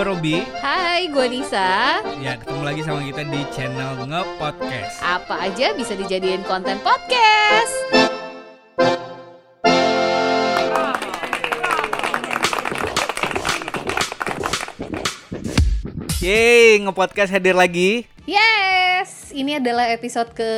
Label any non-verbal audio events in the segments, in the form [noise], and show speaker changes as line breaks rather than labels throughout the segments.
Robi.
Hai, gue Nisa.
Ya, ketemu lagi sama kita di channel Nge-Podcast.
Apa aja bisa dijadiin konten podcast.
Yeay, Nge-Podcast hadir lagi.
Yes, ini adalah episode ke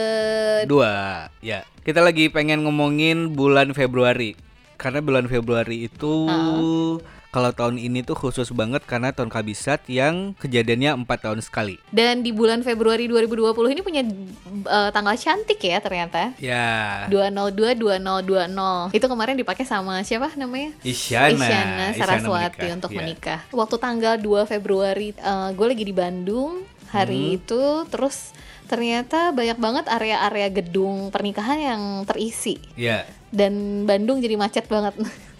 Dua, ya. Kita lagi pengen ngomongin bulan Februari. Karena bulan Februari itu
Ah.
kalau tahun ini tuh khusus banget karena tahun kabisat yang kejadiannya empat tahun sekali.
dan di bulan Februari 2020 ini punya eh, tanggal cantik ya ternyata.
Ya.
202 2020. Itu kemarin dipakai sama siapa namanya?
Isyana,
Isyana Saraswati
menikah,
untuk
ya.
menikah. Waktu tanggal 2 Februari eh, gue lagi di Bandung
Hmm.
hari itu terus ternyata banyak banget area-area gedung pernikahan yang terisi
Ya.
dan Bandung jadi macet banget. [laughs]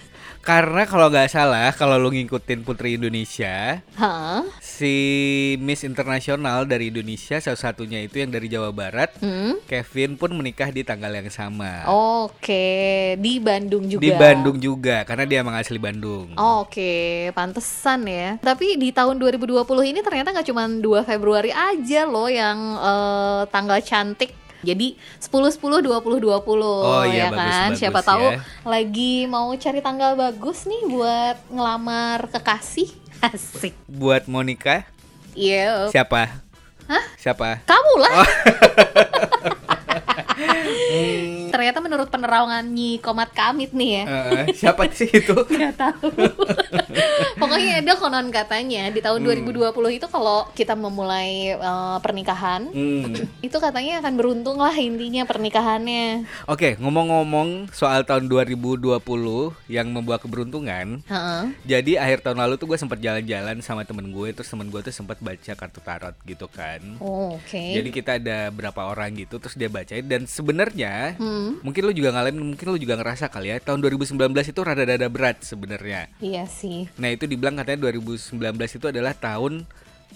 Karena kalau nggak salah, kalau lu ngikutin Putri Indonesia,
Hah?
si Miss Internasional dari Indonesia salah satunya itu yang dari Jawa Barat
Hmm?
Kevin pun menikah di tanggal yang sama
Oke, di Bandung Oh, juga. Oh.
Nah. di Bandung juga karena dia emang asli Bandung
Oke, pantesan ya. Tapi di tahun 2020 ini ternyata nggak cuma 2 Februari aja loh yang eh, tanggal cantik. Jadi 10 10 20 20
Oh
ya kan.
iya, bagus, bagus
Siapa tahu
ya.
lagi mau cari tanggal bagus nih buat ngelamar kekasih. [laughs] Asik.
buat Monica
Iya.
siapa siapa
Kamu lah. Ternyata menurut penerawangan Nyi Komat Kamit nih ya.
Eh, siapa sih itu
Nggak tahu. [laughs] Pokoknya ada konon katanya di
Hmm.
tahun 2020 itu kalau kita memulai eh, pernikahan
Hmm.
itu katanya akan beruntung lah intinya pernikahannya.
Oke, ngomong-ngomong soal tahun 2020 yang membawa keberuntungan.
Heeh.
Jadi akhir tahun lalu tuh gue sempet jalan-jalan sama temen gue, terus temen gue tuh sempet baca kartu tarot gitu kan.
Oh, Oke.
Jadi kita ada berapa orang gitu terus dia bacain dan sebenarnya
Hmm,
mungkin lu juga ngalamin mungkin lu juga ngerasa kali ya tahun 2019 itu rada-rada berat sebenarnya.
iya sih.
Nah, itu dibilang katanya 2019 itu adalah tahun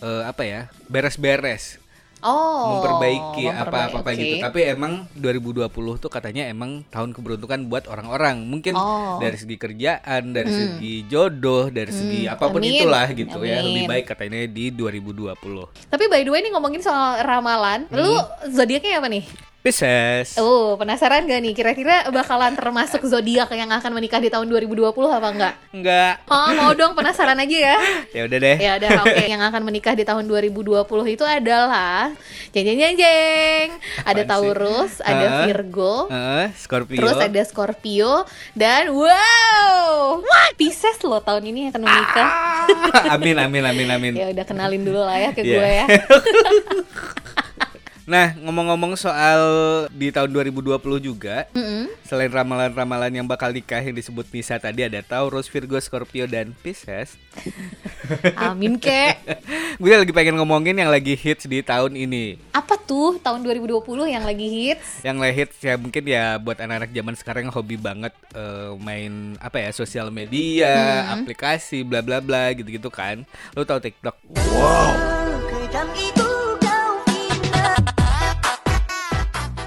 eh, apa ya? beres-beres,
Oh.
memperbaiki apa-apa
memperbaik-
kayak gitu.
oke.
Tapi emang 2020 tuh katanya emang tahun keberuntungan buat orang-orang. Mungkin
Oh.
dari segi kerjaan, dari segi jodoh, dari segi
Hmm,
apapun
amin,
itulah gitu ya.
amin.
Lebih baik katanya di 2020.
Tapi by the way nih ngomongin soal
Hmm.
ramalan, lu zodiaknya apa nih?
Pisces.
Oh, penasaran gak nih kira-kira bakalan termasuk zodiak yang akan menikah di tahun 2020 apa enggak?
Enggak.
Oh, mau dong penasaran aja
[laughs]
ya.
Ya udah deh.
Ya udah oke yang akan menikah di tahun 2020 itu adalah jeng jeng jeng jeng. Ada
Apaan sih?
Taurus, ada
Hah?
Virgo,
Heeh, Eh, Scorpio.
Oh. terus ada Scorpio dan wow, wah Pisces loh tahun ini akan menikah.
Ah, [laughs] amin amin amin amin.
Ya udah kenalin dulu lah ya ke
Iya.
gue ya.
[laughs] Nah, ngomong-ngomong soal di tahun 2020 juga,
Mm-mm.
selain ramalan-ramalan yang bakal nikah yang disebut Nisa tadi ada Taurus, Virgo, Scorpio dan Pisces. [laughs]
Amin kek.
Gue lagi pengen ngomongin yang lagi hits di tahun ini.
Apa tuh tahun 2020 yang lagi hits?
Yang lagi hits ya mungkin ya buat anak-anak zaman sekarang yang hobi banget eh, main apa ya sosial media,
Mm-hmm.
aplikasi, bla bla bla gitu-gitu kan. Lo tau TikTok?
Kadang itu kau indah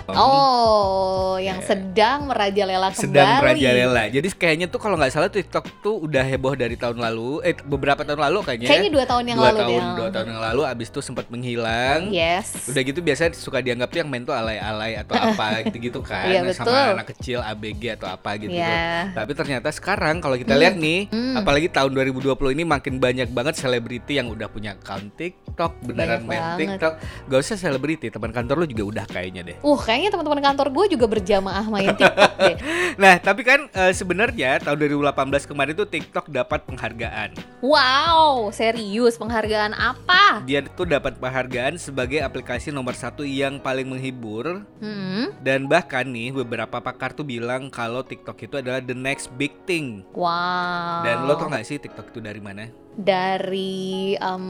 Oh, yang sedang merajalela kembali.
sedang merajalela. Jadi kayaknya tuh kalau nggak salah TikTok tuh udah heboh dari tahun lalu, eh beberapa tahun lalu kayaknya. ya.
Kayaknya dua tahun yang
Dua
lalu
tahun,
Del.
dua tahun yang lalu abis itu sempat menghilang.
Yes.
Udah gitu biasanya suka dianggap tuh yang main tuh alay-alay
[laughs]
atau apa gitu-gitu kan
Iya, betul.
sama anak kecil ABG atau apa gitu.
Iya. Hmm.
Tapi ternyata sekarang kalau kita lihat nih, apalagi tahun 2020 ini makin banyak banget selebriti yang udah punya account TikTok, beneran
Banyak
main
banget.
TikTok. Gak usah selebriti, teman kantor lu juga udah kayaknya deh.
Uh, kayaknya teman-teman kantor gue juga berjamaah main TikTok deh.
[laughs] Nah, tapi kan eh, sebenarnya tahun 2018 kemarin tuh TikTok dapat penghargaan.
Wow, serius penghargaan apa?
Dia tuh dapat penghargaan sebagai aplikasi nomor satu yang paling menghibur
Hmm,
dan bahkan nih beberapa pakar tuh bilang kalau TikTok itu adalah the next big thing.
wow.
Dan lo tau gak sih TikTok itu dari mana?
dari em,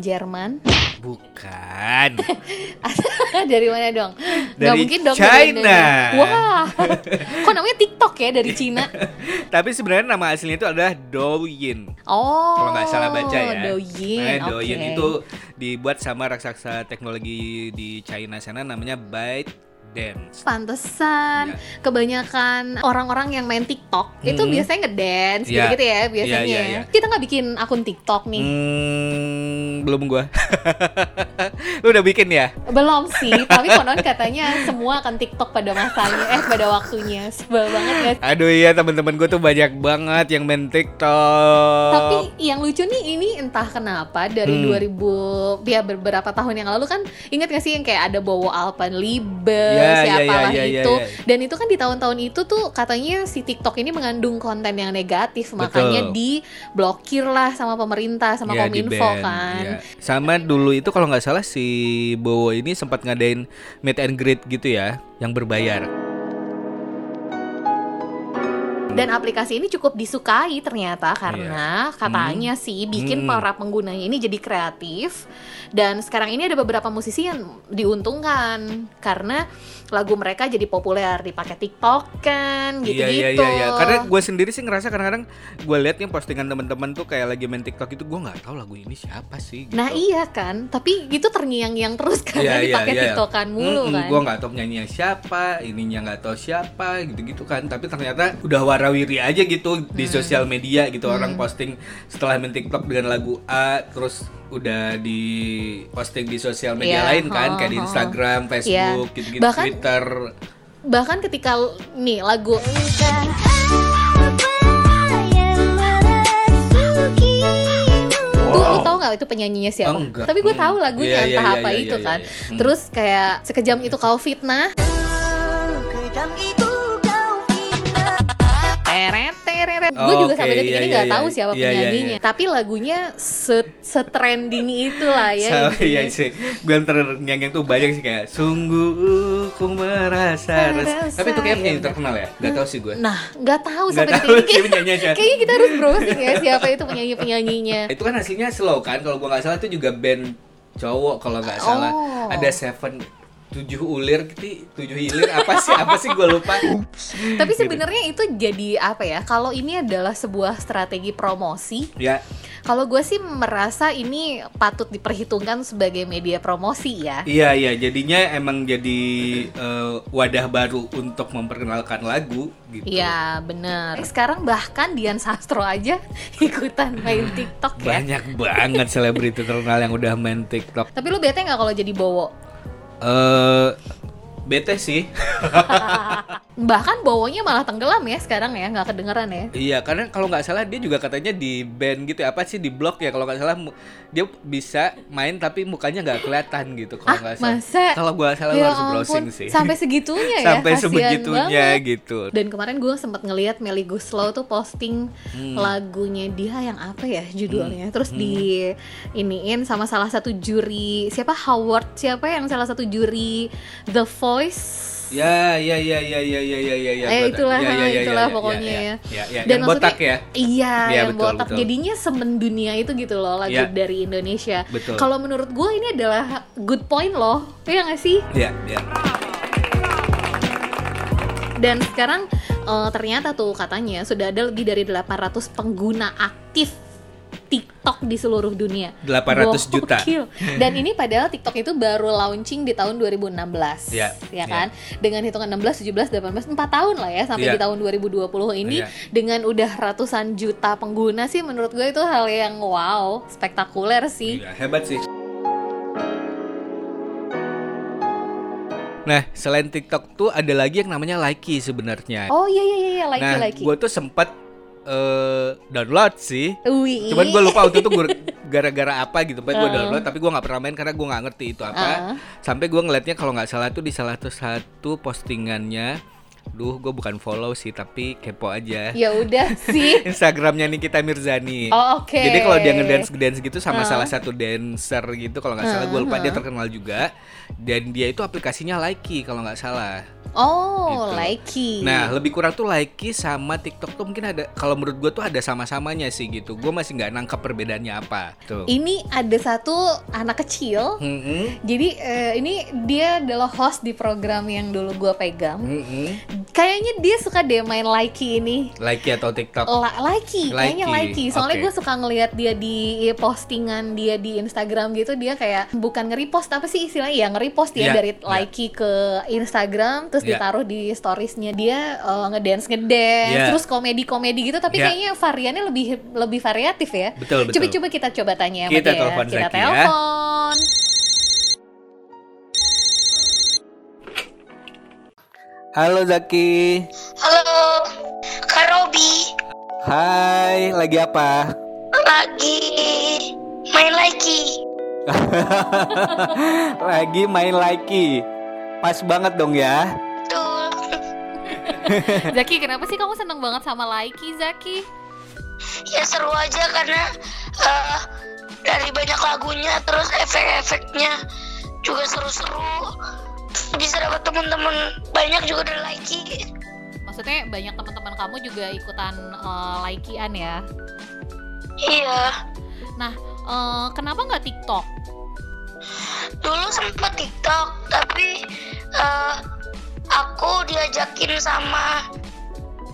Jerman? [laughs]
Bukan. [laughs]
dari mana dong? Nggak
Dari
mungkin dong dari
China.
Indonesia.
[laughs]
Wah, kok namanya TikTok ya dari Cina?
Tapi sebenarnya nama aslinya itu adalah Douyin.
Oh.
Kalau nggak salah baca ya.
Douyin.
Nah, Douyin
oke.
itu dibuat sama raksasa teknologi di China sana namanya Byte dance. Iya.
Pantesan kebanyakan orang-orang yang main TikTok itu
Mm.
biasanya ngedance
Iya.
gitu-gitu ya biasanya.
Iya, iya, iya.
Kita nggak bikin akun TikTok nih.
Hmm, belum gua. [laughs] Lu udah bikin ya?
Belum sih,
[laughs]
tapi konon katanya semua akan TikTok pada masanya eh pada waktunya. Sebel banget ya.
Aduh iya teman-teman gue tuh banyak banget yang main TikTok.
Tapi yang lucu nih ini entah kenapa dari
Eh, Hmm.
2000 ya beberapa tahun yang lalu kan ingat gak sih yang kayak ada Bowo Alpenlibe
Ya, ya,
eh, siapalah
ya, ya, ya,
itu
ya.
dan itu kan di tahun-tahun itu tuh katanya si TikTok ini mengandung konten yang negatif makanya diblokir lah sama pemerintah sama
Ya, di
Kominfo
band,
kan.
ya. Sama dulu itu kalau nggak salah si Bowo ini sempat ngadain meet and greet gitu ya, yang berbayar.
Hmm, Dan aplikasi ini cukup disukai ternyata karena katanya sih bikin
Iya. Hmm.
para penggunanya ini jadi kreatif dan sekarang ini ada beberapa musisi yang diuntungkan karena lagu mereka jadi populer dipakai TikTok kan
Iya
gitu-gitu.
iya iya iya. Karena gue sendiri sih ngerasa kadang-kadang gue lihat yang postingan teman-teman tuh kayak lagi main TikTok itu gue nggak tahu lagu ini siapa sih. Gitu.
Nah iya kan, tapi itu terngiang-ngiang terus karena
Iya,
[laughs]
iya,
dipakai
iya.
TikTokan mulu kan.
Gue nggak tahu penyanyinya siapa, ininya nggak tahu siapa, gitu-gitu kan. Tapi ternyata udah warawiri aja gitu di sosial media gitu orang posting setelah main TikTok dengan lagu A, terus udah di posting di sosial media
Iya,
lain kan,
ha,
kayak
ha.
di
Iya.
Instagram, Facebook, gitu-gitu,
Bahkan-
Twitter.
Bahkan ketika l- nih lagu Lu, lu tau gak itu penyanyinya siapa?
Oh, enggak.
Tapi gue
Hmm.
tahu lagunya
Iya, iya,
entah
iya,
apa
iya,
itu
iya,
kan.
iya. Hmm.
Terus kayak sekejam itu kau fitnah, teret teret. Gue
Oh,
juga sampai
oke,
detik
iya,
ini
iya,
nggak
iya.
tahu siapa
Iya, iya,
penyanyinya. Tapi lagunya se setrending itulah ya.
Sama-
intinya.
iya sih, gue yang tuh banyak sih kayak sungguh ku merasa res-"
Merasa,
Tapi itu kayak
iya,
penyanyi
bener.
terkenal ya, gak tahu sih gue.
Nah, nggak tahu
Nggak
sampai detik
tahu
ini.
sih
Kayak-
penyanyinya siapa.
Kayaknya kita harus browsing
[laughs]
ya siapa itu penyanyi penyanyinya.
Itu kan hasilnya slow kan kalau gua nggak salah itu juga band cowok kalau nggak
Oh.
salah. Ada Seven tujuh ulir keti tujuh hilir apa sih apa sih gua lupa.
Tapi
Gitu.
sebenarnya itu jadi apa ya? Kalau ini adalah sebuah strategi promosi
Ya,
Kalau gue sih merasa ini patut diperhitungkan sebagai media promosi ya.
iya iya jadinya emang jadi eh, wadah baru untuk memperkenalkan lagu gitu.
Iya bener Sekarang bahkan Dian Sastro aja [laughs] ikutan main TikTok ya
Banyak banget selebriti terkenal yang udah main TikTok.
Tapi lu bete nggak kalau jadi Bowo?
Eh bete sih.
Bahkan Bowonya malah tenggelam ya sekarang ya nggak kedengeran ya
Iya, karena kalau nggak salah dia juga katanya di band gitu ya, apa sih di blog ya kalau nggak salah mu- dia bisa main tapi mukanya nggak kelihatan gitu kalau
Ah,
nggak salah.
masa?
Kalau gua salah gua
Ya
Iya, harus browsing
ampun,
sih. [laughs]
Sampai segitunya ya
Sampai
kasihan
sebegitunya
banget.
gitu.
Dan kemarin gue sempat ngelihat Melly Guslow tuh posting
Hmm.
lagunya dia yang apa ya judulnya. Terus di iniin sama salah satu juri siapa Howard siapa yang salah satu juri The Voice.
Ya, ya, ya, ya, ya, ya, ya, ya, ya.
Eh,
gua-
itulah,
ya,
ha, itulah pokoknya ya.
Ya, ya,
Dan
yang botak
maksudnya-
ya.
Iya,
Iya,
yang
betul,
botak.
betul.
Jadinya semen dunia itu gitu loh lagu
Iya.
dari Indonesia.
Betul.
Kalau menurut gue ini adalah good point loh. Iya gak sih?
Ya, ya.
Dan sekarang eh, ternyata tuh katanya sudah ada lebih dari 800 pengguna aktif TikTok di seluruh dunia.
800 juta.
Gokil. Dan ini padahal TikTok itu baru launching di tahun 2016.
Iya,
Ya kan? Dengan hitungan 16, 17, 18, 4 tahun lah ya sampai
Iya.
di tahun 2020 ini
Iya.
dengan udah ratusan juta pengguna sih menurut gue itu hal yang wow, spektakuler sih.
Iya, hebat sih. Nah, selain TikTok tuh ada lagi yang namanya Likee sebenarnya.
Oh iya iya iya, iya, like
Ya. nah,
like.
gua tuh sempat eh download sih.
Wih.
Cuman gue lupa waktu itu gua gara-gara apa gitu, gue
Heeh.
download tapi gue nggak pernah main karena gue nggak ngerti itu apa.
Heeh.
Sampai gue ngeliatnya kalau nggak salah tuh di salah satu- satu postingannya, duh gue bukan follow sih tapi kepo
[laughs]
aja.
Ya udah
[laughs]
sih.
Instagramnya Nikita Mirzani.
Oh, oke.
Jadi kalau dia ngedance ngedance gitu sama
Heeh.
salah satu dancer gitu kalau nggak salah gue lupa dia terkenal juga dan dia itu aplikasinya Likee kalau nggak salah.
Oh,
Gitu.
Likey.
Nah, lebih kurang tuh Likey sama TikTok tuh mungkin ada kalau menurut gua tuh ada sama-samanya sih gitu. Gua masih nggak nangkap perbedaannya apa. Tuh.
ini ada satu anak kecil.
Hmm. Mm-mm,
Jadi eh, ini dia adalah host di program yang dulu gua pegang.
mm-mm.
Kayaknya dia suka deh main Likey ini.
Likey atau TikTok?
La likey, kayaknya likey.
Likey,
Soalnya
oke.
gue suka ngelihat dia di postingan dia di Instagram gitu, dia kayak bukan nge-repost apa sih istilahnya ya nge-repost dia
Iya,
dari
iya.
likey ke Instagram, terus
Iya.
ditaruh di storiesnya dia eh, ngedance ngedance,
Iya.
terus komedi komedi gitu. Tapi
Iya.
kayaknya variannya lebih lebih variatif ya.
Betul, betul.
Coba-coba kita coba tanya sama
Kita
dia.
telepon
kita
Zaki ya.
telepon.
Halo Zaki.
Halo, Kak Robi.
Hai, lagi apa?
Lagi main lagi.
lagi main Likey. Pas banget dong ya.
Betul.
Zaki, kenapa sih kamu seneng banget sama likey, Zaki?
Ya seru aja karena eh, dari banyak lagunya terus efek-efeknya juga seru-seru. Bisa dapat teman-teman banyak juga dari lagi.
Maksudnya banyak teman-teman kamu juga ikutan likeyan ya?
Iya.
Eh, kenapa nggak TikTok?
Dulu sempat TikTok tapi eh, aku diajakin sama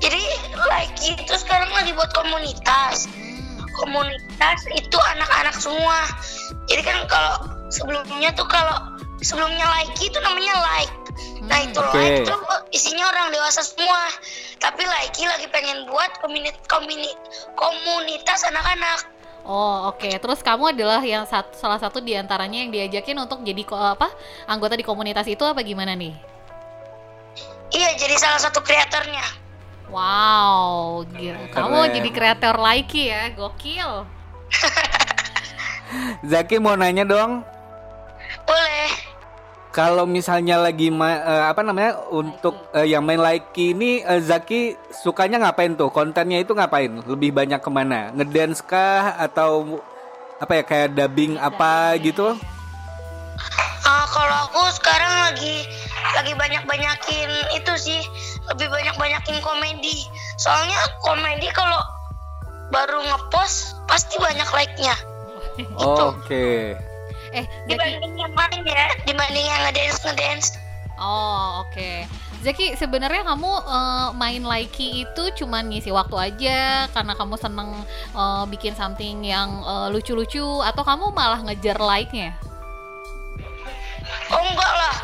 jadi lagi itu sekarang lagi buat komunitas. komunitas itu anak-anak semua. Jadi kan kalau sebelumnya tuh kalau sebelumnya like itu namanya like.
Hmm,
Nah itu
Oke.
like itu isinya orang dewasa semua. Tapi like lagi pengen buat komuni, komuni, komunitas anak-anak.
Oh oke, terus kamu adalah yang sat- salah satu diantaranya yang diajakin untuk jadi ko- apa anggota di komunitas itu apa gimana nih?
Iya jadi salah satu kreatornya.
Wow, gila. kamu
Keren.
jadi kreator likey ya, gokil.
Zaki mau nanya dong.
Boleh.
Kalau misalnya lagi ma- eh, apa namanya untuk eh, yang main Likey ini eh, Zaki sukanya ngapain tuh? Kontennya itu ngapain? Lebih banyak kemana? Ngedance kah atau apa ya kayak dubbing apa gitu?
Ah, kalau aku sekarang lagi lagi banyak-banyakin itu sih lebih banyak-banyakin komedi. Soalnya komedi kalau baru ngepost pasti banyak like-nya.
Oke. [laughs]
Eh, Zaki,
Dibanding yang lain ya, dibanding yang ngedance ngedance.
oh oke. Zaki, sebenarnya kamu eh, main likey itu cuman ngisi waktu aja karena kamu seneng eh, bikin something yang eh, lucu-lucu atau kamu malah ngejar like-nya?
Oh enggak lah,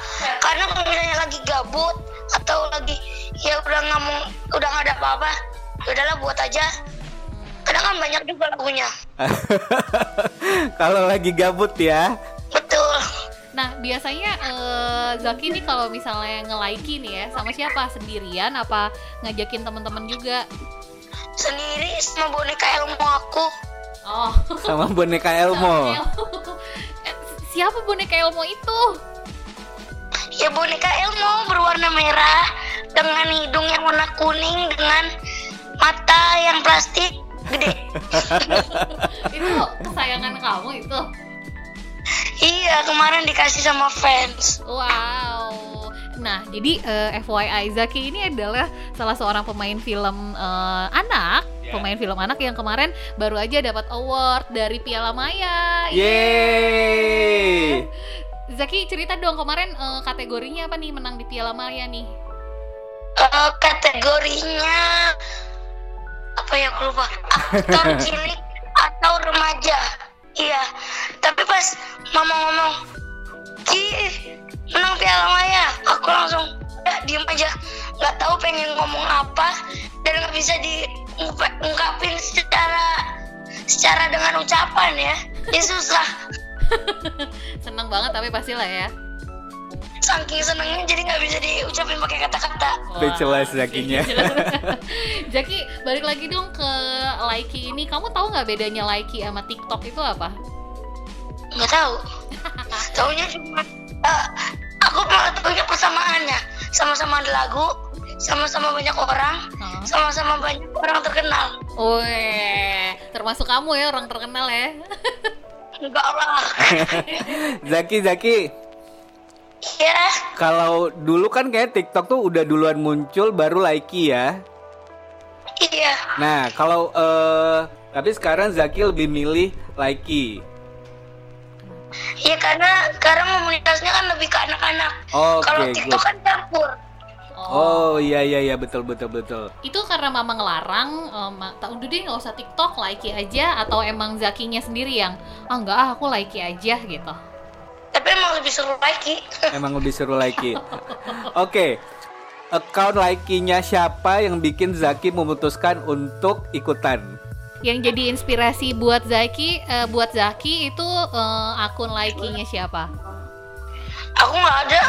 karena kalau misalnya lagi gabut atau lagi ya udah ngomong udah nggak ada apa-apa, ya udahlah buat aja. Kadang kan banyak juga lagunya.
Kalau lagi gabut ya.
Betul.
Nah, biasanya eh, Zaki nih kalau misalnya nge-like nih ya, sama siapa? Sendirian apa ngajakin teman-teman juga?
Sendiri sama boneka ilmu aku.
Oh, [laughs]
sama [laughs] boneka Elmo.
Eh, siapa boneka Elmo itu?
Ya boneka Elmo berwarna merah dengan hidung yang warna kuning dengan mata yang plastik gede.
Itu kesayangan kamu itu.
iya kemarin dikasih sama fans.
Wow. Nah, jadi eh, FYI Zaki ini adalah salah seorang pemain film eh, anak,
Ya.
pemain film anak yang kemarin baru aja dapat award dari Piala
iya.
Maya.
Ya. Yeay.
Zaki cerita dong kemarin eh, kategorinya apa nih menang di Piala Maya nih?
Eh, kategorinya apa ya aku lupa aktor cilik atau remaja. Iya tapi pas mama ngomong Ki menang piala maya aku langsung udah diem aja nggak tahu pengen ngomong apa dan nggak bisa diungkapin secara secara dengan ucapan ya ya susah
Senang banget tapi pastilah ya.
saking senengnya jadi nggak bisa diucapin pakai kata-kata
Speechless Zakinya.
Iya, [laughs] Zaki, balik lagi dong ke Likey ini. Kamu tahu nggak bedanya Likey sama TikTok itu apa?
nggak tahu taunya cuma eh, aku malah tahunya persamaannya sama-sama ada lagu sama-sama banyak orang
[laughs]
Hah?
sama-sama banyak orang terkenal
Weh, termasuk kamu ya orang terkenal ya.
enggak lah
Zaki Zaki.
Iya,
Kalau dulu kan kayak TikTok tuh udah duluan muncul baru Likee ya.
iya.
Nah, kalau eh tapi sekarang Zaki lebih milih Likee.
Ya karena sekarang komunitasnya kan lebih ke anak-anak.
Oke,
Kalau TikTok
good.
kan campur.
Oh, iya iya iya betul betul betul.
Itu karena mama ngelarang, eh, ma- tak udah deh nggak usah TikTok, like aja atau emang Zakinya sendiri yang ah nggak ah aku like aja gitu.
Tapi emang lebih seru lagi.
Emang lebih seru
[laughs]
Likee. Oke. Account Likee-nya siapa yang bikin Zaki memutuskan untuk ikutan?
Yang jadi inspirasi buat Zaki, eh, buat Zaki itu eh, akun like-nya siapa?
Aku nggak ada.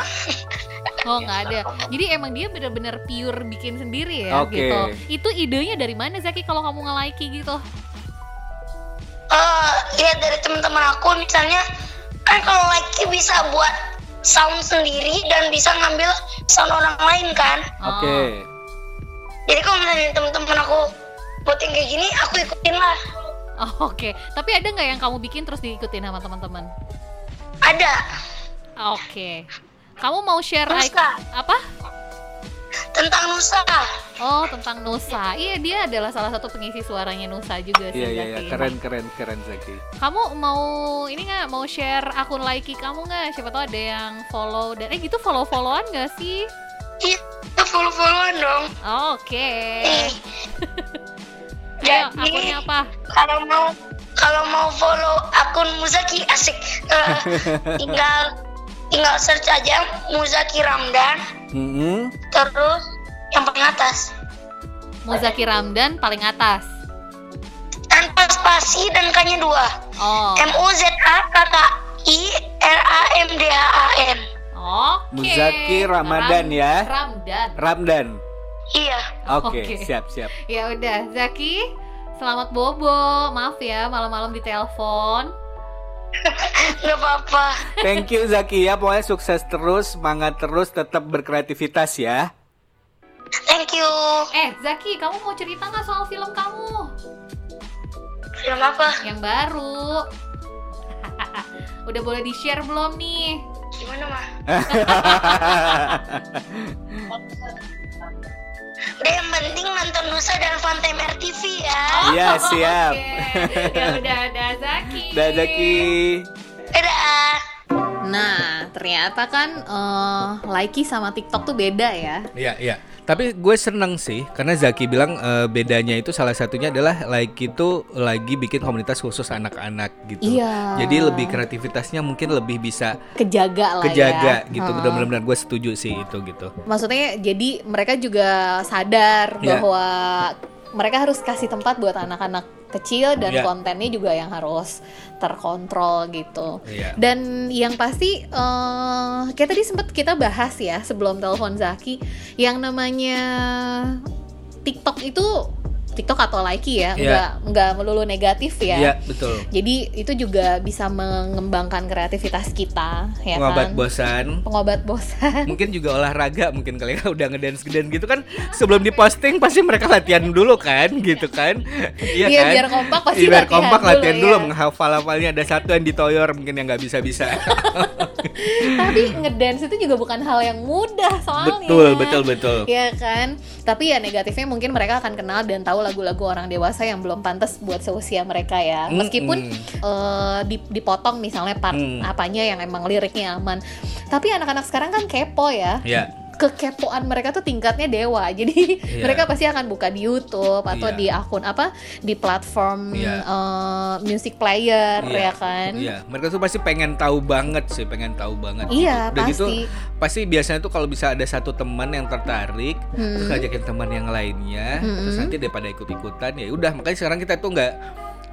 Oh nggak ada. Jadi emang dia bener-bener pure bikin sendiri ya
Oke.
gitu. Itu idenya dari mana Zaki kalau kamu nge-like gitu?
Eh, lihat dari teman-teman aku misalnya kan kalau lagi bisa buat sound sendiri dan bisa ngambil sound orang lain kan.
Oh.
Oke.
Jadi kalau misalnya teman-teman aku voting kayak gini, aku ikutin lah.
Oh, [laughs] Oke. Tapi ada nggak yang kamu bikin terus diikutin sama teman-teman?
Ada.
Oke. Kamu mau share
Nusa.
icon- apa?
Tentang Nusa.
Oh tentang Nusa. Iya dia adalah salah satu pengisi suaranya Nusa juga sih.
Iya iya iya
Zaki.
keren keren keren Zaki.
Kamu mau ini nggak mau share akun like kamu nggak? Siapa tahu ada yang follow dan eh gitu follow followan nggak sih?
Iya, follow-followan dong.
Oke.
Nih,
[laughs] Ayo,
Jadi-
akunnya apa?
kalau mau kalau mau follow akun Muzaki asik
[laughs]
Eh, tinggal tinggal search aja Muzaki Ramdan
Mm-mm.
terus yang paling atas
Muzaki Ramdan paling atas.
tanpa spasi dan kanya dua
Oh.
M U Z A K K I R A M D H A N
Oke.
Muzaki Ramadan ya.
Ramdan.
Ramdan.
iya [laughs]
Oke,
Oke.
siap siap.
Ya udah, Zaki, selamat bobo. Maaf ya malam-malam di telepon.
nggak apa-apa
Thank you Zaki ya, pokoknya sukses terus, semangat terus, tetap berkreativitas ya. [laughs]
thank you
Eh, Zaki, kamu mau cerita nggak soal film kamu
film apa
yang baru? [laughs] udah boleh di-share belum nih?
gimana mah udah yang penting nonton Nusa dan Fantime RTV ya
Iya, siap.
Oh, Oke. Ya udah, dah Zaki.
Dah Zaki.
dadah
Nah, ternyata kan eh Likee sama TikTok tuh beda ya.
Iya, iya. Tapi gue seneng sih karena Zaki bilang eh, bedanya itu salah satunya adalah like itu lagi bikin komunitas khusus anak-anak gitu.
Iya.
Jadi lebih kreativitasnya mungkin lebih bisa
Kejaga lah
kejaga
ya.
gitu.
Heeh.
Benar-benar gue setuju sih itu gitu.
Maksudnya jadi mereka juga sadar
Iya.
bahwa mereka harus kasih tempat buat anak-anak kecil dan
Iya.
kontennya juga yang harus terkontrol gitu.
Iya.
Dan yang pasti eh kayak tadi sempat kita bahas ya sebelum telepon Zaki yang namanya TikTok itu TikTok atau Likee ya,
Iya.
nggak nggak melulu negatif ya.
Iya, betul.
Jadi itu juga bisa mengembangkan kreativitas kita ya kan.
Pengobat bosan.
Pengobat [laughs] bosan.
mungkin juga olahraga mungkin kalian [laughs] udah ngedance ngedance gitu kan sebelum diposting pasti mereka latihan dulu kan gitu
[laughs]
kan iya
Iya,
kan
biar kompak pasti
Iya, biar
latihan
kompak
dulu,
latihan dulu,
ya.
menghafal hafalnya ada satu yang ditoyor mungkin yang nggak bisa bisa [laughs]
Tapi ngedance itu juga bukan hal yang mudah soalnya.
betul betul betul
Iya kan? Tapi ya negatifnya mungkin mereka akan kenal dan tahu lagu-lagu orang dewasa yang belum pantas buat seusia mereka ya. Meskipun
Mm-mm.
eh, dip- dipotong misalnya part
Mm.
apanya yang emang liriknya aman. Tapi anak-anak sekarang kan kepo ya.
ya
Kekepoan mereka tuh tingkatnya dewa. [laughs] Jadi
Iya.
mereka pasti akan buka di YouTube atau
Iya.
di akun apa di platform
Iya.
eh, music player ya
Iya,
kan?
Iya, mereka tuh pasti pengen tahu banget sih, pengen tahu banget.
Iya,
gitu. Udah gitu,
pasti. [laughs]
pasti biasanya tuh kalau bisa ada satu teman yang tertarik,
Hmm.
terus ngajakin teman yang lainnya,
Hmm.
terus nanti daripada ikut-ikutan ya udah. Makanya sekarang kita tuh nggak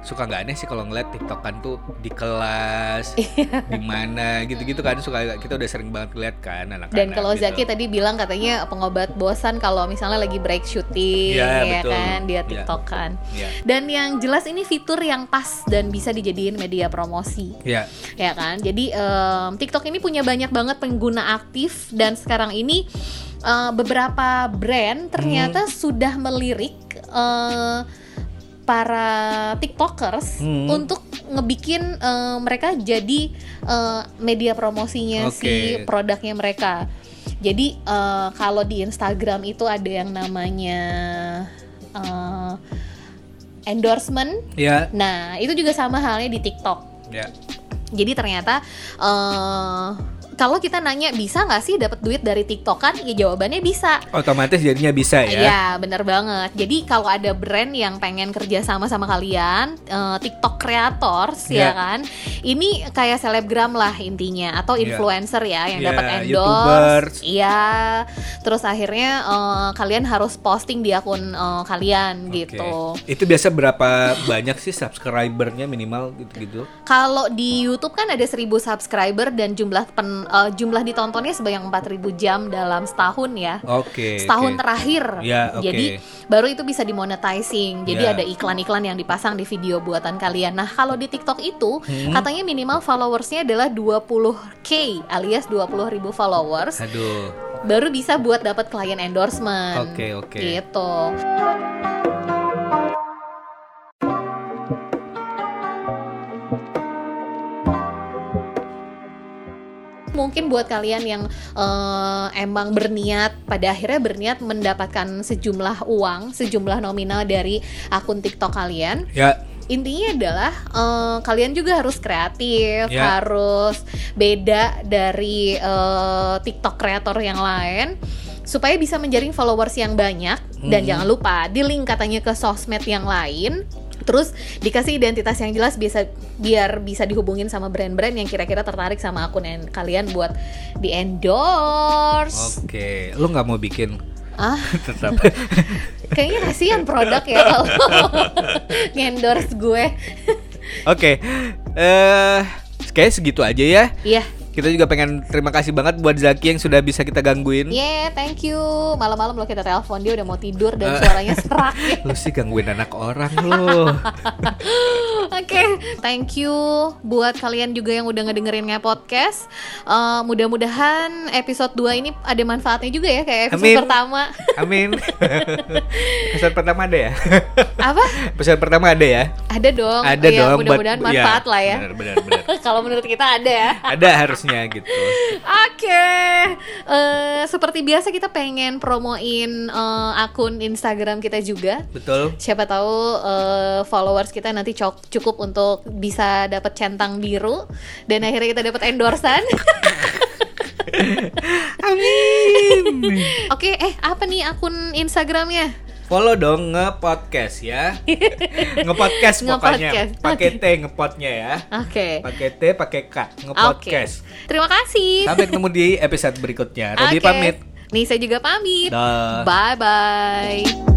suka nggak aneh sih kalau ngeliat tiktokan tuh di kelas,
Iya.
di mana gitu-gitu kan suka kita udah sering banget lihat kan anak-anak.
Dan kalau
gitu.
Zaki tadi bilang katanya pengobat bosan kalau misalnya lagi break syuting
Iya,
ya
betul.
kan dia
Iya.
tiktokan.
Iya.
Dan yang jelas ini fitur yang pas dan bisa dijadiin media promosi
Iya.
ya kan. Jadi em, TikTok ini punya banyak banget pengguna aktif dan sekarang ini eh, beberapa brand
Hmm.
ternyata sudah melirik eh, para TikTokers
Hmm.
untuk ngebikin eh, mereka jadi eh, media promosinya si
Oke.
produknya mereka. Jadi eh, kalau di Instagram itu ada yang namanya eh, endorsement.
Ya,
Nah, itu juga sama halnya di TikTok.
ya.
Jadi ternyata eh kalau kita nanya bisa nggak sih dapat duit dari TikTok kan? Ya jawabannya bisa.
Otomatis jadinya bisa ya.
Ya, bener banget. Jadi kalau ada brand yang pengen kerja sama sama kalian, eh, TikTok creators ya
Ya.
kan, ini kayak selebgram lah intinya atau
Ya.
influencer ya yang
Ya,
dapat
YouTubers.
endorse. Iya. Terus akhirnya eh, kalian harus posting di akun eh, kalian
Oke.
gitu.
Itu biasa berapa banyak sih subscribernya minimal gitu-gitu?
Kalau di YouTube kan ada 1000 subscriber dan jumlah pen, eh, jumlah ditontonnya sebanyak 4000 jam dalam setahun ya.
Oke.
setahun
oke.
terakhir.
Ya, oke.
Jadi baru itu bisa dimonetizing. Jadi
Ya.
ada iklan-iklan yang dipasang di video buatan kalian. Nah, kalau di TikTok itu
Hmm.
katanya minimal followersnya adalah 20k alias 20.000 followers
Aduh.
baru bisa buat dapat klien endorsement.
Oke, oke.
Gitu. mungkin buat kalian yang eh, emang berniat pada akhirnya berniat mendapatkan sejumlah uang, sejumlah nominal dari akun TikTok kalian,
Ya,
intinya adalah eh, kalian juga harus kreatif,
Ya.
harus beda dari eh, TikTok kreator yang lain supaya bisa menjaring followers yang banyak dan
Mhm.
jangan lupa di link katanya ke sosmed yang lain terus dikasih identitas yang jelas bisa biar bisa dihubungin sama brand-brand yang kira-kira tertarik sama akun en- kalian buat di endorse
oke. Lu nggak mau bikin
ah
tetap [laughs]
kayaknya kasihan produk ya kalau endorse gue
Oke, eh kayak segitu aja ya.
iya
Kita juga pengen terima kasih banget buat Zaki yang sudah bisa kita gangguin.
Yeah, thank you. Malam-malam lo kita telepon dia udah mau tidur
Eh.
dan suaranya serak.
[laughs]
ya.
Lu sih gangguin anak orang lu.
Oke, thank you buat kalian juga yang udah ngedengerin nge podcast. Eh, Mudah-mudahan episode 2 ini ada manfaatnya juga ya kayak episode
Amin.
pertama. [laughs]
Amin. Pesan pertama ada ya? [laughs]
Apa?
Pesan pertama ada ya?
Ada dong.
Ada
Iya,
dong. buat-
Mudah-mudahan
iya,
manfaat lah ya.
Benar, benar, benar.
[laughs] Kalau menurut kita ada ya.
ada harusnya gitu.
Oke, Eh, seperti biasa kita pengen promoin eh, akun Instagram kita juga.
Betul.
siapa tahu eh, followers kita nanti cok- cukup untuk bisa dapat centang biru dan akhirnya kita dapat endorsan. [laughs]
Amin.
Oke, eh apa nih akun Instagramnya?
Follow dong ngepodcast ya. Ngepodcast pokoknya.
Ngepodcast.
Pakai T ngepodnya ya.
Oke,
Pakai T, pakai K. Ngepodcast.
terima kasih.
Sampai ketemu di episode berikutnya. Rodi
Oke.
pamit.
Nih saya juga pamit.
Dah.
Bye bye.